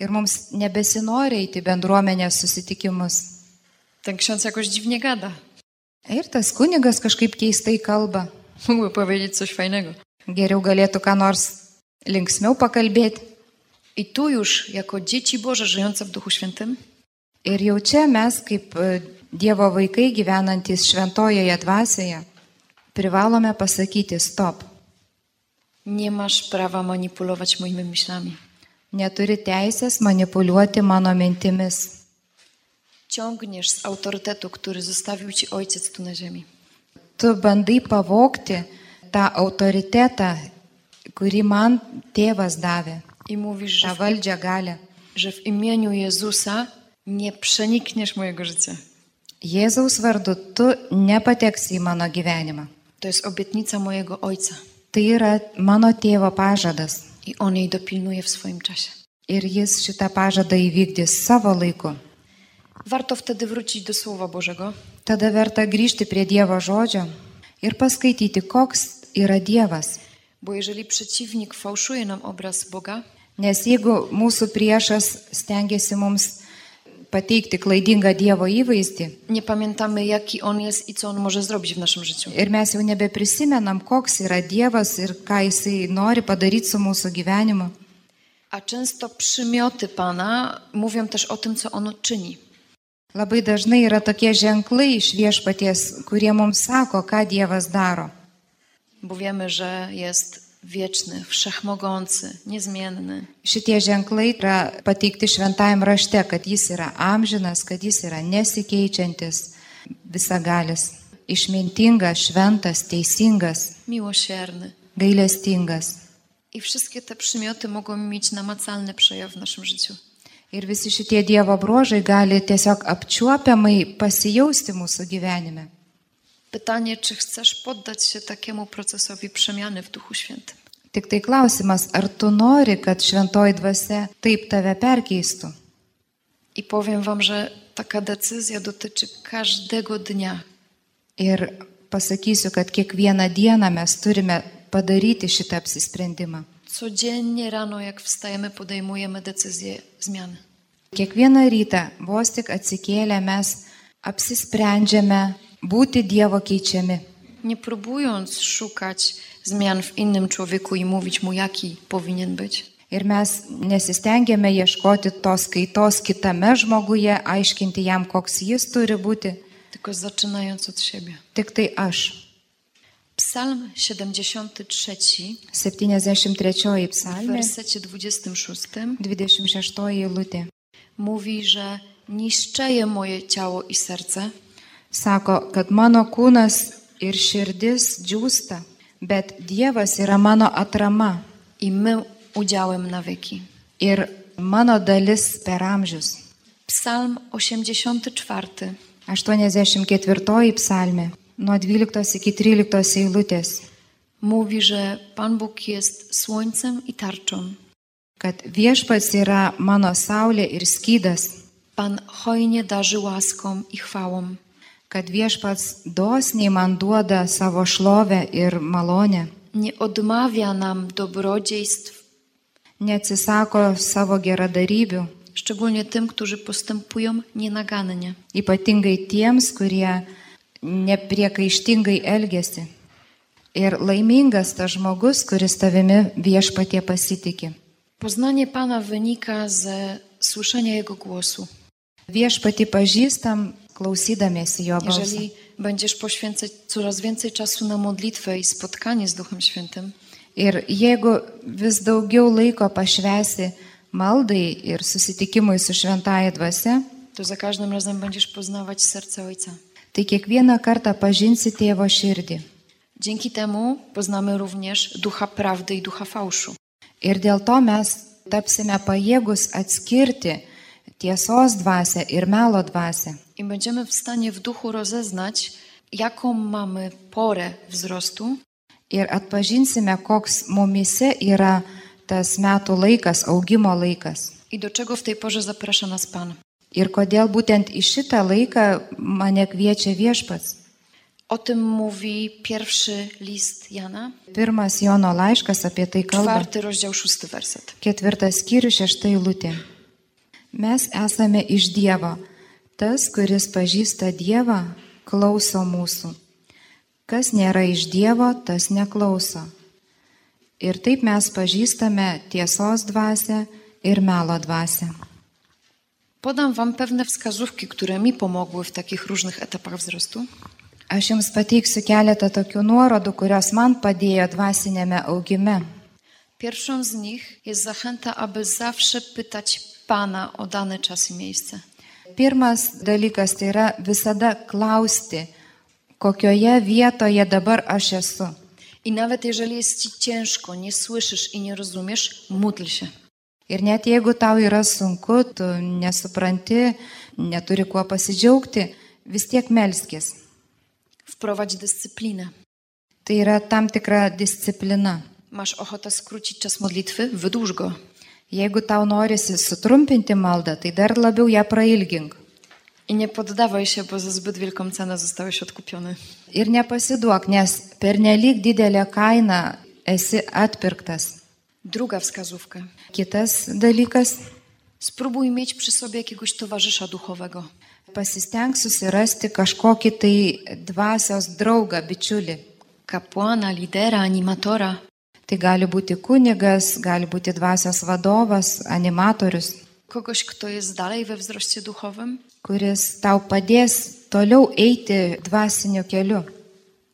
Speaker 3: Ir mums nebesinori eiti į bendruomenės susitikimus.
Speaker 2: Ten ksiądz jakoś dziwnie gada.
Speaker 3: Ir tas kunigas kažkaip keistai kalba.
Speaker 2: Mógłby powiedzieć coś fajnego.
Speaker 3: Geriau galėtų ką nors linksmiau pakalbėti.
Speaker 2: I tu już, jako dzieci Boże żyjące w Duchu Świętym,
Speaker 3: Ir jau čia mes, kaip e, Dievo vaikai gyvenantis šventojoje dvasioje, privalome pasakyti stop.
Speaker 2: nie masz prawa manipulować moimi myślami.
Speaker 3: Neturi teisės manipuliuoti mano mintimis.
Speaker 2: Ciągniesz z autorytetu, który zostawił ci ojciec tu na ziemi.
Speaker 3: Tu bandai pavokti tą autoritetą, kurį man tėvas davė,
Speaker 2: I mówisz,
Speaker 3: tą
Speaker 2: że w,
Speaker 3: valdžią galę.
Speaker 2: że w imieniu Jezusa nie przenikniesz mojego życia.
Speaker 3: Jėzaus vardu tu nepateksi į mano gyvenimą.
Speaker 2: To jest obietnica mojego ojca.
Speaker 3: Tai yra mano tėvo pažadas.
Speaker 2: I on jej dopilnuje w swoim czasie.
Speaker 3: Ir jis šitą pažadą įvykdys savo laiku.
Speaker 2: Warto wtedy wrócić do Słowa Bożego
Speaker 3: Tada verta grįžti prie Dievo žodžio ir paskaityti, koks yra Dievas.
Speaker 2: Bo jeżeli przeciwnik fałszuje nam obraz Boga,
Speaker 3: Nes jeigu mūsų priešas stengiasi mums pateikti klaidingą Dievo įvaizdį
Speaker 2: nie pamiętamy, jaki on jest i co on może zrobić w naszym życiu.
Speaker 3: ir mes jau nebeprisimenam, koks yra Dievas ir ką jisai nori padaryti su mūsų gyvenimu,
Speaker 2: A często przymioty Pana mówią też o tym, co on czyni.
Speaker 3: labai dažnai yra tokie ženklai iš viešpaties, kurie mums sako, ką Dievas daro.
Speaker 2: Bo wiemy, że jest wieczny, wszechmogący, niezmienny.
Speaker 3: Šitie ženklai yra pateikti šventajam rašte, kad jis yra amžinas, kad jis yra nesikeičiantis, visagalis, išmintingas, šventas, teisingas,
Speaker 2: miłosierny.
Speaker 3: gailestingas.
Speaker 2: I wszystkie te przymioty mogą mieć namacalny przejaw w naszym życiu.
Speaker 3: Ir visi šitie Dievo bruožai gali tiesiog apčiuopiamai pasijausti mūsų gyvenime.
Speaker 2: Pytanie, czy chcesz poddać się takiemu procesowi przemiany w Duchu Świętym?
Speaker 3: Tik tai klausimas, ar tu nori, kad šventoji dvasia taip tave perkeistų?
Speaker 2: I powiem Wam, że taka decyzja dotyczy każdego dnia,
Speaker 3: Ir pasakysiu, kad kiekvieną dieną mes turime padaryti šitą apsisprendimą.
Speaker 2: Codziennie rano, jak wstajemy, podejmujemy decyzję zmiany.
Speaker 3: Kiekvieną rytą, vos tik atsikėlę, mes apsisprendžiame būti Dievo keičiami.
Speaker 2: Nie próbując szukać zmian w innym człowieku i mówić mu, jaki powinien być,
Speaker 3: Ir mes nesistengėme ieškoti tos kaitos kitame žmoguje, aiškinti jam, koks jis turi būti.
Speaker 2: tylko zaczynając od siebie.
Speaker 3: Tik tai aš.
Speaker 2: Psalm 73,
Speaker 3: 73
Speaker 2: w
Speaker 3: psalmė,
Speaker 2: wersecie 26
Speaker 3: 26 eilutė.
Speaker 2: mówi, że niszczeje moje ciało i serce,
Speaker 3: Sako, kad mano kūnas ir širdis džiūsta, bet Dievas yra mano atrama
Speaker 2: i my udziałem na wieki.
Speaker 3: ir mano dalis per amžius.
Speaker 2: Psalm 84,
Speaker 3: 84 psalmė nuo 12 iki 13 eilutės,
Speaker 2: mówi, że Pan Bóg jest słońcem i tarczą.
Speaker 3: kad viešpats yra mano saulė ir skydas,
Speaker 2: Pan hojnie darzy łaską i chwałą.
Speaker 3: kad viešpats dosniai man duoda savo šlovę ir malonę,
Speaker 2: Nie odmawia nam dobrodziejstw,
Speaker 3: neatsisako savo geradarybių,
Speaker 2: szczególnie tym, którzy postępują nienagannie.
Speaker 3: ypatingai tiems, kurie nepriekaištingai elgesi. Ir laimingas tas žmogus, kuris tavimi viešpatie pasitikė.
Speaker 2: Poznanie Pana wynika ze słyszenia Jego głosu.
Speaker 3: Viešpati pažįstam, klausydamiesi jo balso.
Speaker 2: Jeżeli będziesz poświęcać coraz więcej czasu na modlitwę i spotkanie z Duchem Świętym,
Speaker 3: Ir jeigu vis daugiau laiko pašvesi maldai ir susitikimui su šventaja dvasia,
Speaker 2: to za każdym razem będziesz poznawać serce Ojca.
Speaker 3: tai kiekvieną kartą pažinsi tėvo širdį.
Speaker 2: Dzięki temu poznamy również ducha prawdy i ducha fałszu.
Speaker 3: Ir dėl to mes tapsime pajėgus atskirti tiesos dvasę ir melo dvasę.
Speaker 2: I będziemy w stanie w duchu rozeznać, jaką mamy porę wzrostu
Speaker 3: Ir atpažinsime, koks mumise yra tas metų laikas, augimo laikas.
Speaker 2: i do czego w tej porze zaprasza nas Pan.
Speaker 3: Ir kodėl būtent į šitą laiką mane kviečia viešpats.
Speaker 2: O tym mówi pierwszy list Jana,
Speaker 3: Pirmas Jono laiškas apie tai kalba.
Speaker 2: czwarty rozdział, szósty werset.
Speaker 3: Ketvirtas skyrius, šešta eilutė. Mes esame iš Dievo. Tas, kuris pažįsta Dievą, klauso mūsų. Kas nėra iš Dievo, tas neklauso. Ir taip mes pažįstame tiesos dvasę ir melo dvasę.
Speaker 2: Podam Wam pewne wskazówki, które mi pomogły w takich różnych etapach wzrostu.
Speaker 3: Aš jums pateiksiu keletą tokių nuorodų, kurios man padėjo dvasinėme augime.
Speaker 2: Pierwszą z nich jest zachęta, aby zawsze pytać Pana o dany czas i miejsce.
Speaker 3: Pirmas dalykas tai yra visada klausti, kokioje vietoje dabar aš esu.
Speaker 2: I nawet jeżeli jest Ci ciężko, nie słyszysz i nie rozumiesz, módl się.
Speaker 3: Ir net jeigu tau yra sunku, tu nesupranti, neturi kuo pasidžiaugti, vis tiek melskis.
Speaker 2: Wprowadź dyscyplinę.
Speaker 3: Tai yra tam tikra disciplina.
Speaker 2: Masz ochotę skrócić czas modlitwy? Wydłuż go.
Speaker 3: Jeigu tau norisi sutrumpinti maldą, tai dar labiau ją prailgink.
Speaker 2: I nie poddawaj się, bo za zbyt wielką cenę zostałeś odkupiony.
Speaker 3: Ir nepasiduok, nes per nelik didelę kainą esi atpirktas.
Speaker 2: Druga wskazówka.
Speaker 3: Kitas dalykas
Speaker 2: Spróbuj mieć przy sobie jakiegoś towarzysza duchowego.
Speaker 3: - pasistengsiu susirasti kažkokį tai dvasios draugą, bičiulį.
Speaker 2: Kapłana, lidera, animatora.
Speaker 3: Tai gali būti kunigas, gali būti dvasios vadovas, animatorius,
Speaker 2: Kogoś, kto jest dalej we wzroście duchowym,
Speaker 3: kuris tau padės toliau eiti dvasiniu keliu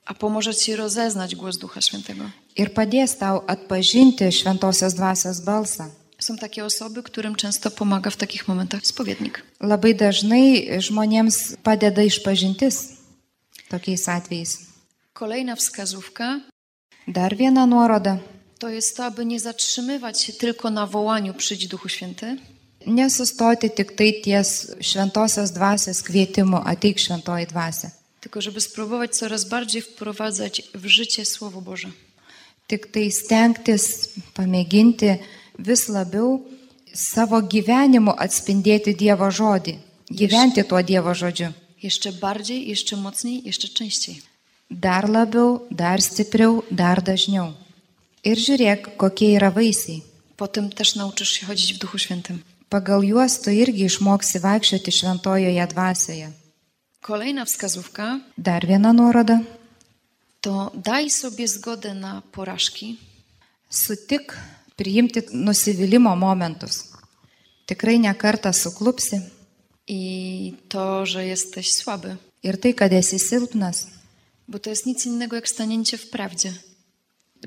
Speaker 2: a pomoże Ci rozeznać głos Ducha Świętego.
Speaker 3: ir padės tau atpažinti šventosios dvasios balsą.
Speaker 2: Są takie osoby, którym często pomaga w takich momentach spowiednik.
Speaker 3: Labai dažnai žmonėms padeda išpažintis tokiais atvejais.
Speaker 2: Kolejna wskazówka
Speaker 3: Dar viena nuoroda
Speaker 2: to jest to, aby nie zatrzymywać się tylko na wołaniu przyjdź Duchu Święty,
Speaker 3: - nesustoti tik tai ties šventosios dvasios kvietimu ateik šventoji dvasia.
Speaker 2: tylko żeby spróbować coraz bardziej wprowadzać w życie Słowo Boże.
Speaker 3: Tik tai stengtis, pamėginti vis labiau savo gyvenimu atspindėti Dievo žodį, gyventi tuo Dievo žodžiu.
Speaker 2: Jeszcze bardziej, jeszcze mocniej, jeszcze częściej.
Speaker 3: Dar labiau, dar stipriau, dar dažniau. Ir žiūrėk, kokie yra vaisiai.
Speaker 2: Potem też nauczysz się chodzić w Duchu Świętym.
Speaker 3: Pagal juos tu irgi išmoksi vaikščioti šventojoje dvasioje.
Speaker 2: Kolejna wskazówka
Speaker 3: Dar viena nuoroda.
Speaker 2: to daj sobie zgodę na porażki,
Speaker 3: Sutik priimti nusivylimų momentus. Tikrai nekartą suklupsi.
Speaker 2: i to, że jesteś słaby,
Speaker 3: Ir tai, kad esi silpnas,
Speaker 2: bo to jest nic innego jak stanięcie w prawdzie.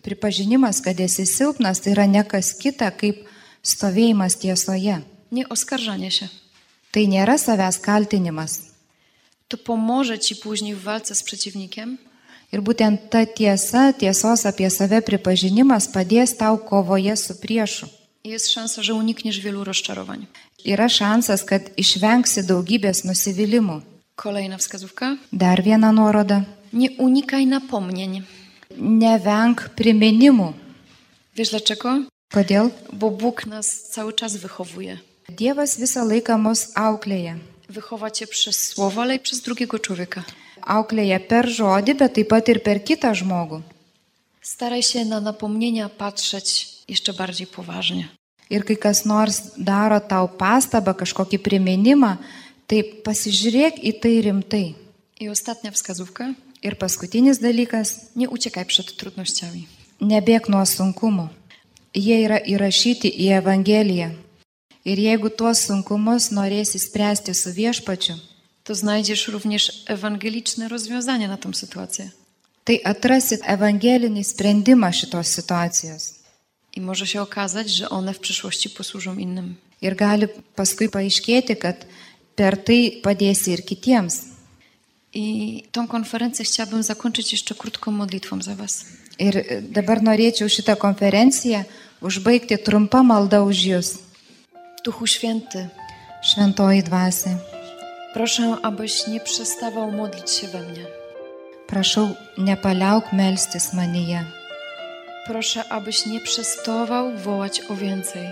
Speaker 3: Pripažinimas, kad esi silpnas, tai yra nekas kita kaip stovėjimas tiesoje.
Speaker 2: Nie oskarżanie się.
Speaker 3: Tai nėra savęs kaltinimas.
Speaker 2: To pomoże ci później w walce z przeciwnikiem,
Speaker 3: Ir būtent ta tiesa, tiesos apie save pripažinimas padės tau kovoje su priešu.
Speaker 2: Jest szansa, że unikniesz wielu rozczarowań.
Speaker 3: Yra šansas, kad išvengsi daugybės nusivylimų.
Speaker 2: Kolejna wskazówka.
Speaker 3: Dar viena nuoroda.
Speaker 2: Nie unikaj napomnień.
Speaker 3: Nevenk priminimų.
Speaker 2: Wiesz dlaczego?
Speaker 3: Kodėl?
Speaker 2: Bo Bóg nas cały czas wychowuje.
Speaker 3: Dievas visą laiką mus auklėja.
Speaker 2: Wychowa cię przez słowo, ale i przez drugiego człowieka.
Speaker 3: Auklėja per žodį, bet taip pat ir per kitą žmogų.
Speaker 2: Staraj się na napomnienia patrzeć jeszcze bardziej poważnie.
Speaker 3: Ir kai kas nors daro tau pastabą, kažkokį priminimą, tai pasižiūrėk į tai rimtai.
Speaker 2: I ostatnia wskazówka.
Speaker 3: Ir paskutinis dalykas
Speaker 2: Nie uciekaj przed trudnościami.
Speaker 3: - nebėk nuo sunkumų. Jie yra įrašyti į Evangeliją. Ir jeigu tuos sunkumus norėsi spręsti su viešpačiu,
Speaker 2: To znajdziesz również ewangeliczne rozwiązanie na tą sytuację.
Speaker 3: tai atrasit evangelinį sprendimą šitos situacijos.
Speaker 2: I może się okazać, że one w przyszłości posłużą innym.
Speaker 3: Ir gali paskui paaiškėti, kad per tai padėsi ir kitiems.
Speaker 2: I tą konferencję chciałabym zakończyć jeszcze krótką modlitwą za Was.
Speaker 3: Ir dabar norėčiau šitą konferenciją užbaigti trumpą maldą už Jūs,
Speaker 2: Duchu Święty,
Speaker 3: šventoji dvasia.
Speaker 2: proszę, abyś nie przestawał modlić się we mnie.
Speaker 3: Prašau, nepaliauk melstis manyje.
Speaker 2: Proszę, abyś nie przestawał wołać o więcej.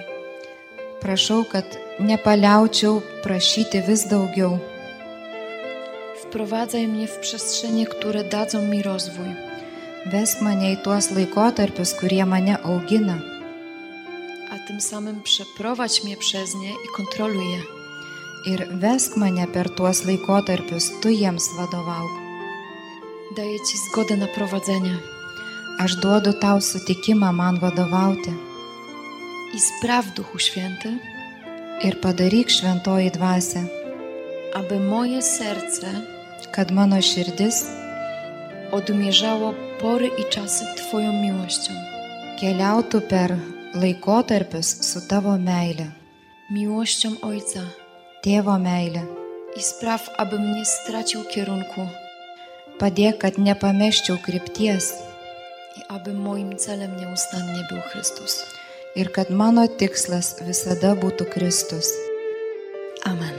Speaker 3: Prašau, kad nepaliaučiau prašyti vis daugiau.
Speaker 2: W wprowadzaj mnie w przestrzenie, które dadzą mi rozwój.
Speaker 3: Ves mane į tuos laikotarpius, kurie mane augina,
Speaker 2: a tym samym przeprowadź mnie przez nie i kontroluj je.
Speaker 3: ir vesk mane per tuos laikotarpius, tu jiems vadovauk.
Speaker 2: Daję Ci zgodę na prowadzenie
Speaker 3: Aš duodu tau sutikimą man vadovauti
Speaker 2: i spraw, Duchu Święty,
Speaker 3: ir padaryk šventoji dvasia,
Speaker 2: aby moje serce
Speaker 3: kad mano širdis
Speaker 2: odmierzało pory i czasy Twoją miłością.
Speaker 3: keliautų per laikotarpius su tavo meile,
Speaker 2: Miłością Ojca
Speaker 3: tėvo meile.
Speaker 2: i spraw, abym nie stracił kierunku
Speaker 3: Padėk, kad nepameščiau krypties
Speaker 2: i aby moim celem nieustannie był Chrystus.
Speaker 3: ir kad mano tikslas visada būtų Kristus.
Speaker 2: Amen.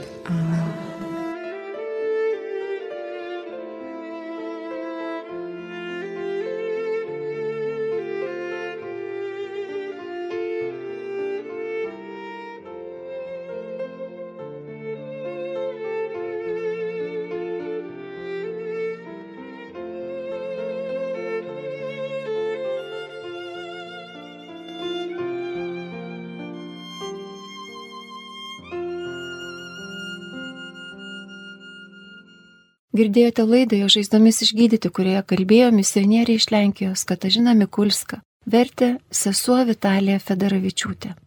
Speaker 1: Girdėjote laidą jo žaizdomis išgydyti, kurioje kalbėjo misionieriai iš Lenkijos Katažina Mikulska, vertė sesuo Vitalija Federavičiūtė.